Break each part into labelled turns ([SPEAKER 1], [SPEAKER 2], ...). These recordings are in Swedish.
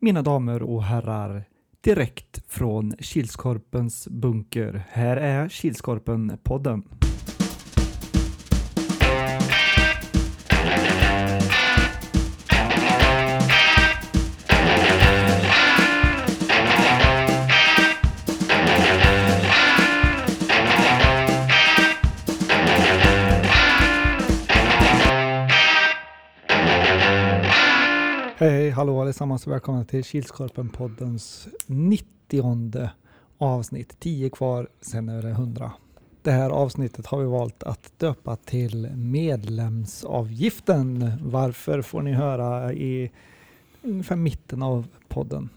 [SPEAKER 1] mina damer och herrar, direkt från Kilskorpens bunker. Här är Kilskorpen-podden. Hej, hallå allesammans och välkomna till Kilskorpen-poddens 90 avsnitt. 10 kvar, sen är det 100. Det här avsnittet har vi valt att döpa till medlemsavgiften. Varför får ni höra i ungefär mitten av podden.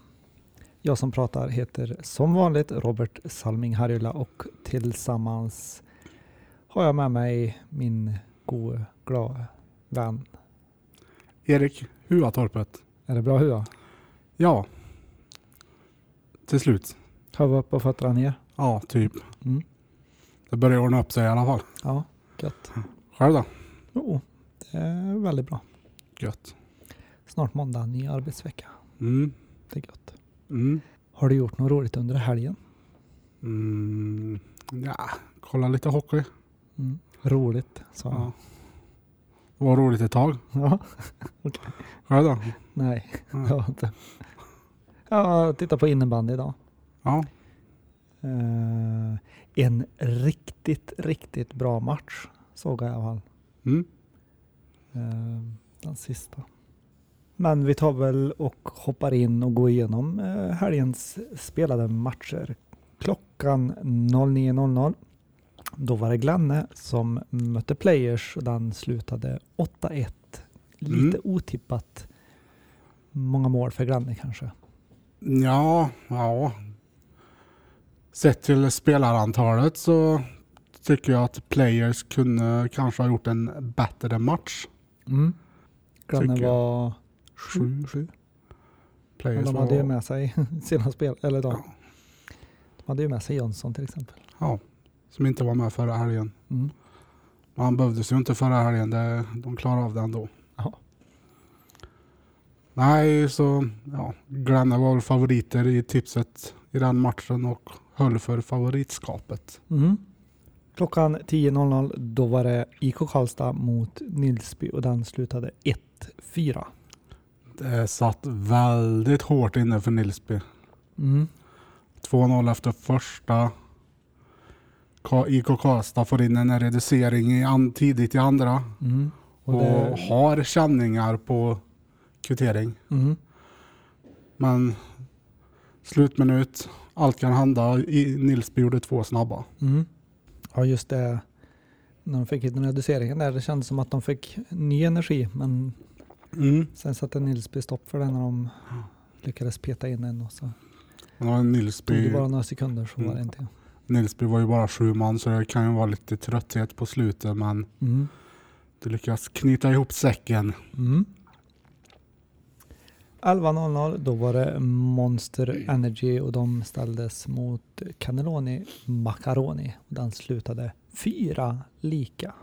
[SPEAKER 1] Jag som pratar heter som vanligt Robert Salming Harjula och tillsammans har jag med mig min gode, glada vän.
[SPEAKER 2] Erik, Huatorpet.
[SPEAKER 1] Är det bra Hua?
[SPEAKER 2] Ja. Till slut.
[SPEAKER 1] Huvud upp och fötterna ner.
[SPEAKER 2] Ja, typ.
[SPEAKER 1] Mm.
[SPEAKER 2] Det börjar ordna upp sig i alla fall.
[SPEAKER 1] Ja, gött.
[SPEAKER 2] Själv då?
[SPEAKER 1] Jo, det är väldigt bra.
[SPEAKER 2] Gött.
[SPEAKER 1] Snart måndag, ny arbetsvecka.
[SPEAKER 2] Mm.
[SPEAKER 1] Det är gött.
[SPEAKER 2] Mm.
[SPEAKER 1] Har du gjort något roligt under helgen?
[SPEAKER 2] Mm. Ja, kolla lite hockey.
[SPEAKER 1] Mm. Roligt, sa han.
[SPEAKER 2] Ja. Det var roligt ett tag.
[SPEAKER 1] Ja.
[SPEAKER 2] Själv då?
[SPEAKER 1] Nej, det
[SPEAKER 2] Ja.
[SPEAKER 1] har jag inte. Jag tittar på innebandy idag.
[SPEAKER 2] ja.
[SPEAKER 1] Eh, en riktigt, riktigt bra match såg jag i alla fall.
[SPEAKER 2] Mm.
[SPEAKER 1] Eh, den sista. Men vi tar väl och hoppar in och går igenom eh, helgens spelade matcher. Klockan 09.00. Då var det Glanne som mötte Players och den slutade 8-1. Lite
[SPEAKER 2] Mm.
[SPEAKER 1] otippat. Många mål för Glanne kanske.
[SPEAKER 2] Ja, ja. Sett till spelarantalet så tycker jag att players kunde kanske ha gjort en bättre match.
[SPEAKER 1] Glanne
[SPEAKER 2] Mm. Tycker jag.
[SPEAKER 1] var
[SPEAKER 2] Sju.
[SPEAKER 1] sju. Men
[SPEAKER 2] Players
[SPEAKER 1] Mm. de hade ju
[SPEAKER 2] var-
[SPEAKER 1] med sig sina spel, eller de,
[SPEAKER 2] Ja.
[SPEAKER 1] de hade ju med sig Jönsson till exempel.
[SPEAKER 2] Ja, som inte var med förra helgen.
[SPEAKER 1] Mm.
[SPEAKER 2] Men han behövdes ju inte förra helgen. Det, de klarade av det ändå.
[SPEAKER 1] Ja.
[SPEAKER 2] Nej, så ja, Glenna var väl favoriter i tipset i den matchen och höll för favoritskapet.
[SPEAKER 1] Mm. Klockan 10.00 då var det IK Karlstad mot Nilsby och den slutade 1-4.
[SPEAKER 2] Det satt väldigt hårt inne för Nilsby.
[SPEAKER 1] Mm.
[SPEAKER 2] 2-0 efter första. Ka- IK Karlstad får in en reducering i an- tidigt i andra
[SPEAKER 1] Mm.
[SPEAKER 2] och,
[SPEAKER 1] Och det,
[SPEAKER 2] har känningar på kvittering.
[SPEAKER 1] mm.
[SPEAKER 2] Men slutminut, allt kan hända. I- Nilsby gjorde två snabba.
[SPEAKER 1] Mm. Ja just det, när de fick hit den reduceringen där, det kändes som att de fick ny energi men sen satte Nilsby stopp för det när de lyckades peta in en och så
[SPEAKER 2] Men det var
[SPEAKER 1] tog det
[SPEAKER 2] Nilsby,
[SPEAKER 1] bara några sekunder så var det
[SPEAKER 2] Mm.
[SPEAKER 1] inte.
[SPEAKER 2] Nilsby var ju bara sju man så det kan ju vara lite trötthet på slutet men
[SPEAKER 1] Mm.
[SPEAKER 2] du lyckas knyta ihop säcken.
[SPEAKER 1] Mm. 11.00 då var det Monster Energy och de ställdes mot Cannelloni Macaroni. Den slutade fyra lika.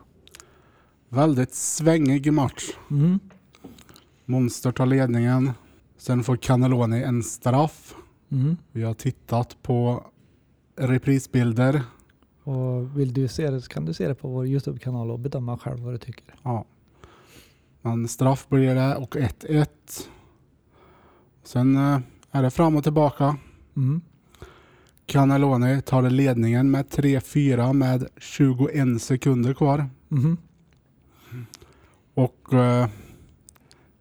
[SPEAKER 2] Väldigt svängig match.
[SPEAKER 1] Mm.
[SPEAKER 2] Monster tar ledningen. Sen får Cannelloni en straff.
[SPEAKER 1] Mm.
[SPEAKER 2] Vi har tittat på reprisbilder.
[SPEAKER 1] Och vill du se det så kan du se det på vår Youtube-kanal och bedöma själv vad du tycker.
[SPEAKER 2] Ja. Men straff blir det och 1-1. Sen eh, är det fram och tillbaka.
[SPEAKER 1] Mm.
[SPEAKER 2] Cannelloni tar ledningen med 3-4 med 21 sekunder kvar.
[SPEAKER 1] Mhm.
[SPEAKER 2] Och eh,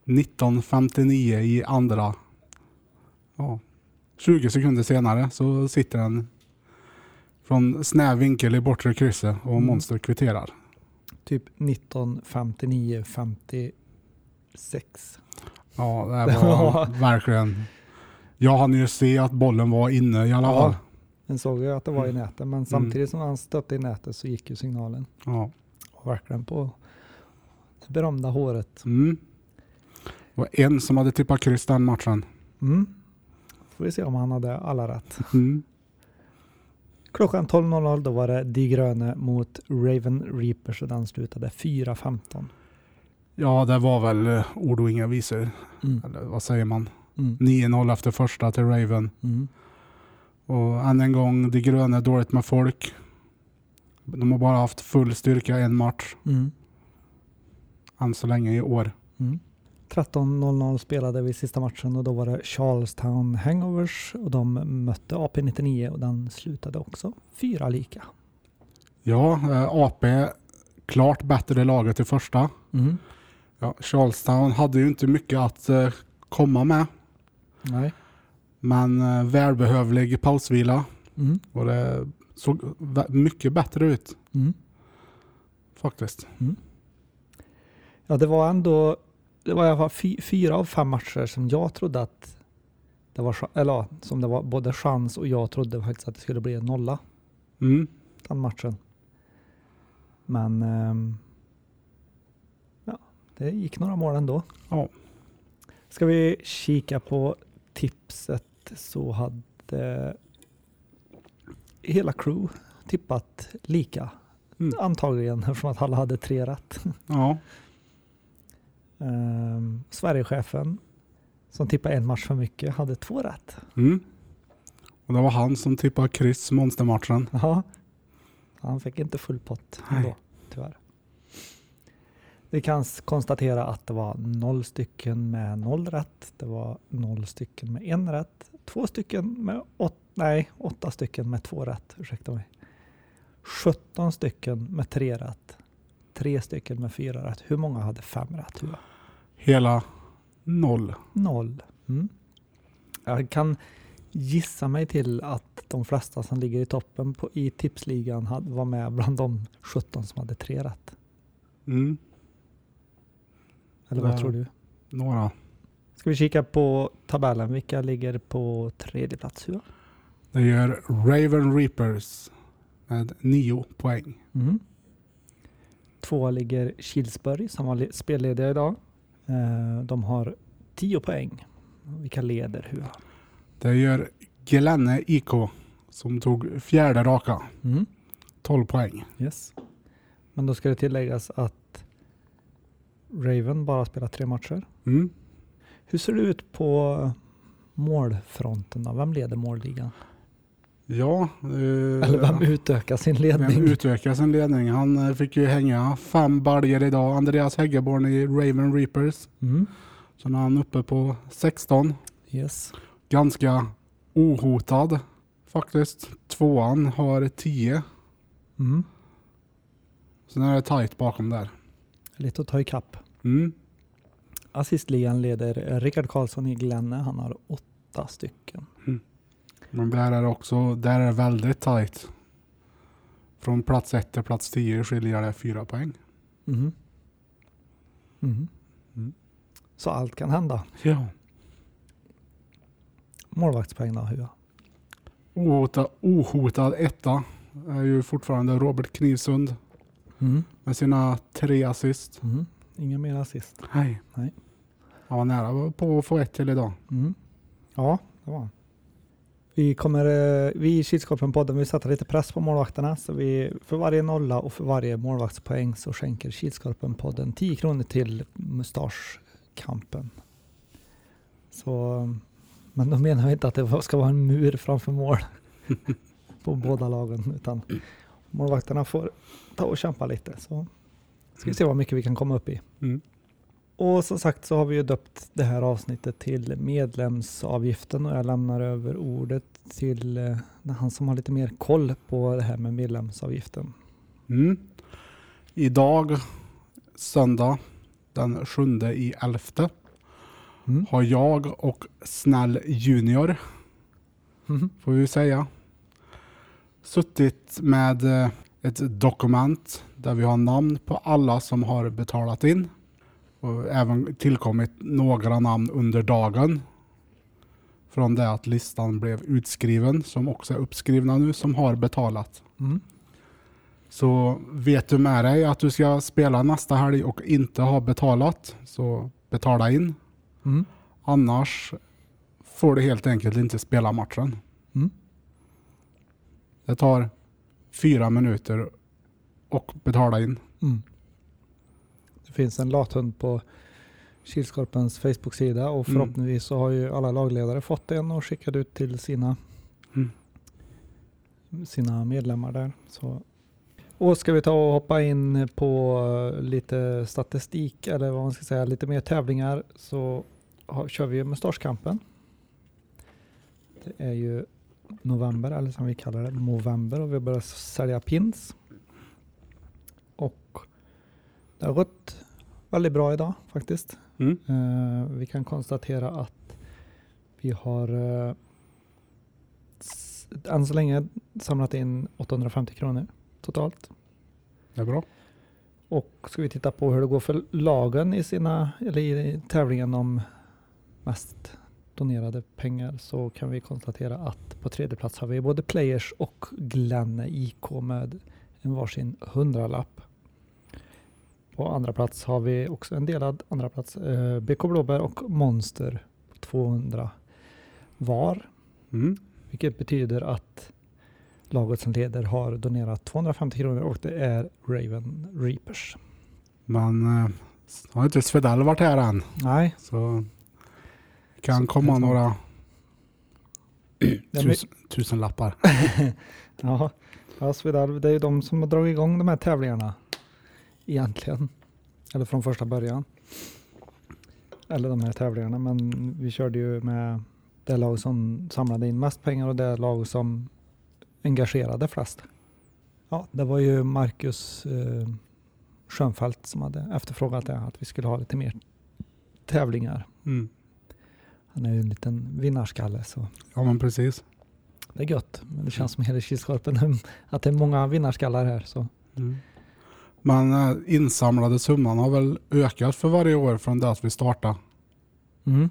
[SPEAKER 2] 19.59 i andra. Ja, 20 sekunder senare så sitter den från snäv vinkel i bortre krysset och
[SPEAKER 1] Mm.
[SPEAKER 2] Monster kvitterar.
[SPEAKER 1] Typ 1959 56.
[SPEAKER 2] Ja, det här var verkligen... Jag hann ju se att bollen var inne i alla
[SPEAKER 1] Ja.
[SPEAKER 2] fall.
[SPEAKER 1] Den såg ju att det var i nätet men samtidigt som han stötte i nätet så gick ju signalen.
[SPEAKER 2] Ja.
[SPEAKER 1] Och verkligen på det berömda håret.
[SPEAKER 2] Mm. Det var en som hade tippat kryss den matchen.
[SPEAKER 1] Mm. Får vi se om han hade alla rätt.
[SPEAKER 2] Mm.
[SPEAKER 1] Klockan 12.00 då var det De Gröne mot Raven Reapers och den slutade 4.15.
[SPEAKER 2] Ja, det var väl eh, ord och inga visor.
[SPEAKER 1] Mm.
[SPEAKER 2] Eller vad säger man?
[SPEAKER 1] Mm.
[SPEAKER 2] 9-0 efter första till Raven.
[SPEAKER 1] Mm.
[SPEAKER 2] Och än en gång, de gröna är dåligt med folk. De har bara haft full styrka en match
[SPEAKER 1] Mm.
[SPEAKER 2] än så länge i år.
[SPEAKER 1] Mm. 13.00 spelade vi sista matchen och då var det Charlestown Hangovers och de mötte AP-99 och den slutade också fyra lika.
[SPEAKER 2] Ja, eh, AP klart bättre laget i första.
[SPEAKER 1] Mm.
[SPEAKER 2] Ja, Charlestown hade ju inte mycket att eh, komma med,
[SPEAKER 1] Nej.
[SPEAKER 2] men eh, välbehövlig pausvila
[SPEAKER 1] Mm.
[SPEAKER 2] och det såg vä- mycket bättre ut
[SPEAKER 1] Mm.
[SPEAKER 2] faktiskt.
[SPEAKER 1] Ja, det var ändå, det var i alla fall fy, fyra av fem matcher som jag trodde att det var, cha- eller ja, som det var både chans och jag trodde faktiskt att det skulle bli en nolla
[SPEAKER 2] Mm.
[SPEAKER 1] den matchen. Men ehm, ja, det gick några mål ändå.
[SPEAKER 2] Ja.
[SPEAKER 1] Ska vi kika på tipset så hade hela crew tippat lika.
[SPEAKER 2] Mm.
[SPEAKER 1] Antagligen eftersom att alla hade tre rätt.
[SPEAKER 2] Ja.
[SPEAKER 1] Ehm, Sverigechefen som tippade en match för mycket hade två rätt.
[SPEAKER 2] Mm. Och det var han som tippade kryss monstermatchen.
[SPEAKER 1] Ja. Han fick inte full pott
[SPEAKER 2] Nej.
[SPEAKER 1] ändå, tyvärr. Vi kan s- konstatera att det var noll stycken med noll rätt. Det var noll stycken med en rätt. Två stycken med åt, nej, åtta stycken med två rätt. Ursäkta mig. 17 stycken med tre rätt. Tre stycken med fyra rätt. Hur många hade fem rätt? Hua?
[SPEAKER 2] Hela noll.
[SPEAKER 1] Noll. Mm. Jag kan gissa mig till att de flesta som ligger i toppen på, i tipsligan hade, var med bland de 17 som hade tre rätt.
[SPEAKER 2] Mm.
[SPEAKER 1] Eller vad
[SPEAKER 2] Ja.
[SPEAKER 1] tror du?
[SPEAKER 2] Några.
[SPEAKER 1] Ska vi kika på tabellen? Vilka ligger på tredje plats? Hua?
[SPEAKER 2] Det gör Raven Reapers med nio poäng.
[SPEAKER 1] Mm. Två ligger Kilsberg som var le- spellediga idag. Eh, de har 10 poäng. Vilka leder Hua?
[SPEAKER 2] Det gör Glenne IK som tog fjärde raka.
[SPEAKER 1] Mm.
[SPEAKER 2] 12 poäng.
[SPEAKER 1] Yes. Men då ska det tilläggas att Raven bara spelar tre matcher.
[SPEAKER 2] Mm.
[SPEAKER 1] Hur ser det ut på målfronten? Då? Vem leder målligan?
[SPEAKER 2] Ja, eh,
[SPEAKER 1] Eller vem utökar sin ledning?
[SPEAKER 2] vem utökar sin ledning? Han eh, fick ju hänga fem baljor idag. Andreas Häggeborn i Raven Reapers.
[SPEAKER 1] Mm.
[SPEAKER 2] Så nu är han uppe på 16.
[SPEAKER 1] Yes.
[SPEAKER 2] Ganska ohotad faktiskt. Tvåan har 10.
[SPEAKER 1] Mm.
[SPEAKER 2] Sen är det tajt bakom där.
[SPEAKER 1] Lite att ta ikapp.
[SPEAKER 2] Mm.
[SPEAKER 1] Assistligan leder Rickard Karlsson i Glenne. Han har åtta stycken.
[SPEAKER 2] Men där är det också, där är det väldigt tajt. Från plats 1 till plats 10 skiljer det fyra poäng.
[SPEAKER 1] Mhm. Mhm.
[SPEAKER 2] Mm.
[SPEAKER 1] Så allt kan hända.
[SPEAKER 2] Ja.
[SPEAKER 1] Målvaktspoäng då? Hua?
[SPEAKER 2] Ohotad, ohotad etta är ju fortfarande Robert Knivsund
[SPEAKER 1] Mm.
[SPEAKER 2] med sina tre assist.
[SPEAKER 1] Mm. Inga mer assist.
[SPEAKER 2] Nej.
[SPEAKER 1] Nej.
[SPEAKER 2] Han var nära på att få ett till idag.
[SPEAKER 1] Mm. Ja, det var han. Vi, kommer, eh, vi i Kilskorpen-podden vi sätter lite press på målvakterna. Så vi, för varje nolla och för varje målvaktspoäng så skänker Kilskorpen-podden 10 kronor till Mustaschkampen. Så, men då menar vi inte att det ska vara en mur framför mål på båda lagen. Utan målvakterna får ta och kämpa lite. Så ska vi se vad mycket vi kan komma upp i.
[SPEAKER 2] Mm.
[SPEAKER 1] Och som sagt så har vi ju döpt det här avsnittet till medlemsavgiften och jag lämnar över ordet till eh, han som har lite mer koll på det här med medlemsavgiften.
[SPEAKER 2] Mm. Idag, söndag den 7 i 11
[SPEAKER 1] Mm.
[SPEAKER 2] har jag och Snäll Junior,
[SPEAKER 1] Mhm.
[SPEAKER 2] får vi säga, suttit med eh, ett dokument där vi har namn på alla som har betalat in och även tillkommit några namn under dagen från det att listan blev utskriven som också är uppskrivna nu som har betalat.
[SPEAKER 1] Mm.
[SPEAKER 2] Så vet du med dig att du ska spela nästa helg och inte ha betalat, så betala in.
[SPEAKER 1] Mm.
[SPEAKER 2] Annars får du helt enkelt inte spela matchen.
[SPEAKER 1] Mm.
[SPEAKER 2] Det tar fyra minuter och betala in.
[SPEAKER 1] Mm. Det finns en lathund på Kilskorpens Facebook-sida och
[SPEAKER 2] Mm.
[SPEAKER 1] förhoppningsvis så har ju alla lagledare fått en och skickat ut till sina,
[SPEAKER 2] Mm.
[SPEAKER 1] sina medlemmar där. Så. Och ska vi ta och hoppa in på eh, lite statistik eller vad man ska säga, lite mer tävlingar så har, kör vi ju Mustaschkampen. Det är ju november eller som vi kallar det, november och vi börjar sälja pins. Och det har gått väldigt bra idag faktiskt.
[SPEAKER 2] Mm.
[SPEAKER 1] Eh, vi kan konstatera att vi har eh, s- än så länge samlat in 850 kronor totalt.
[SPEAKER 2] Det är bra.
[SPEAKER 1] Och ska vi titta på hur det går för lagen i, sina, eller i tävlingen om mest donerade pengar så kan vi konstatera att på tredje plats har vi både Players och Glenn IK med en varsin hundralapp. På andra plats har vi också en delad andra plats eh, BK Blåbär och Monster 200 var.
[SPEAKER 2] Mm.
[SPEAKER 1] Vilket betyder att laget som leder har donerat 250 kronor och det är Raven Reapers.
[SPEAKER 2] Men eh, har inte Svedell varit här än
[SPEAKER 1] Nej,
[SPEAKER 2] så kan
[SPEAKER 1] Så-
[SPEAKER 2] komma några
[SPEAKER 1] men-
[SPEAKER 2] tus, tusenlappar.
[SPEAKER 1] ja, ja Svedalv, det är ju de som har dragit igång de här tävlingarna egentligen. Eller från första början. Eller de här tävlingarna, men vi körde ju med det lag som samlade in mest pengar och det lag som engagerade flest. Ja, det var ju Marcus eh, Schönfeldt som hade efterfrågat det, att vi skulle ha lite mer tävlingar.
[SPEAKER 2] Mm.
[SPEAKER 1] Han är ju en liten vinnarskalle så
[SPEAKER 2] Ja men precis.
[SPEAKER 1] det är gött. Men det känns som hela Kilskorpen att det är många vinnarskallar här. Så.
[SPEAKER 2] Men eh, insamlade summan har väl ökat för varje år från det att vi startade.
[SPEAKER 1] Mm.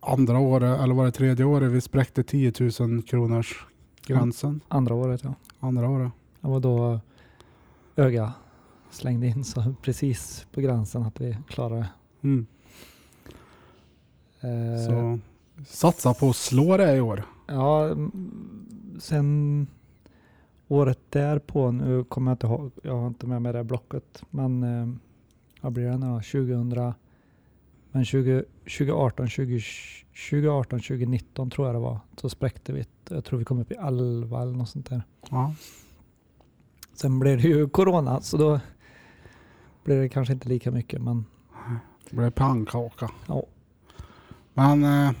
[SPEAKER 2] Andra året, eller var det tredje året, vi spräckte 10 000 kronors gränsen.
[SPEAKER 1] Andra året ja.
[SPEAKER 2] Andra året.
[SPEAKER 1] Det var då öga slängde in så precis på gränsen att vi klarade
[SPEAKER 2] Mm.
[SPEAKER 1] eh,
[SPEAKER 2] Så satsa på att slå det i år.
[SPEAKER 1] Ja, mm, sen året därpå, nu kommer jag inte ihåg, jag har inte med mig det här blocket, men eh, vad blir det nu då? 2000, men 20, 2018, 20, 2018, 2019 tror jag det var, så spräckte vi, ett- jag tror vi kom upp i 11 eller något sånt där.
[SPEAKER 2] Ja.
[SPEAKER 1] Sen blev det ju corona, så då blev det kanske inte lika mycket, men
[SPEAKER 2] Det blev pannkaka.
[SPEAKER 1] Ja.
[SPEAKER 2] Men eh,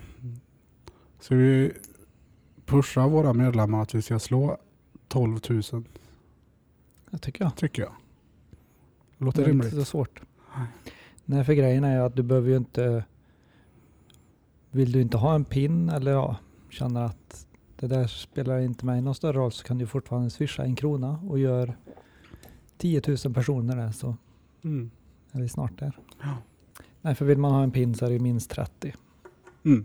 [SPEAKER 2] ska vi pusha våra medlemmar att vi ska slå 12 000
[SPEAKER 1] jag tycker jag.
[SPEAKER 2] tycker jag. Låter
[SPEAKER 1] det är inte
[SPEAKER 2] rimligt.
[SPEAKER 1] så svårt.
[SPEAKER 2] Nej.
[SPEAKER 1] Nej, för grejen är ju att du behöver ju inte... Vill du inte ha en pin eller ja, känner att det där spelar inte mig någon större roll så kan du fortfarande swisha en krona och gör 10 000 personer det så
[SPEAKER 2] Mm.
[SPEAKER 1] är vi snart där.
[SPEAKER 2] Ja.
[SPEAKER 1] Nej, för vill man ha en pin så är det minst 30
[SPEAKER 2] Mm.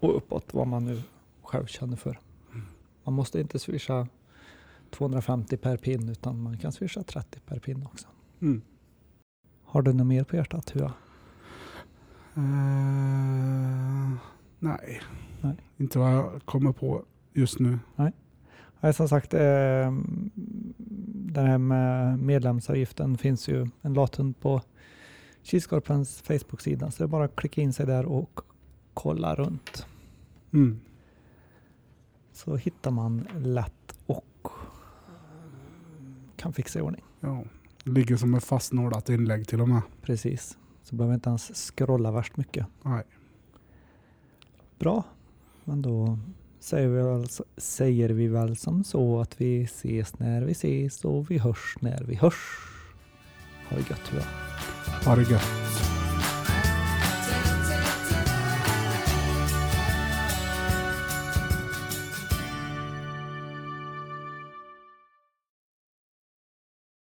[SPEAKER 1] och uppåt vad man nu själv känner för.
[SPEAKER 2] Mm.
[SPEAKER 1] Man måste inte swisha 250 per pin utan man kan swisha 30 per pin också.
[SPEAKER 2] Mm.
[SPEAKER 1] Har du något mer på hjärtat? Hua?
[SPEAKER 2] Eh, nej.
[SPEAKER 1] Nej.
[SPEAKER 2] inte vad jag kommer på just nu.
[SPEAKER 1] Nej, som sagt, eh, den här med medlemsavgiften finns ju en lathund på Kilskorpens Facebook-sida. Så det är bara att klicka in sig där och kolla runt.
[SPEAKER 2] Mm.
[SPEAKER 1] Så hittar man lätt och kan fixa i ordning.
[SPEAKER 2] Ja. Ligger som ett fastnålat inlägg till och med.
[SPEAKER 1] Precis. Så behöver jag inte ens scrolla värst mycket.
[SPEAKER 2] Nej.
[SPEAKER 1] Bra. Men då säger vi, väl, säger vi väl som så att vi ses när vi ses och vi hörs när vi hörs. Ha det gött, Hua.
[SPEAKER 2] Ha det gött.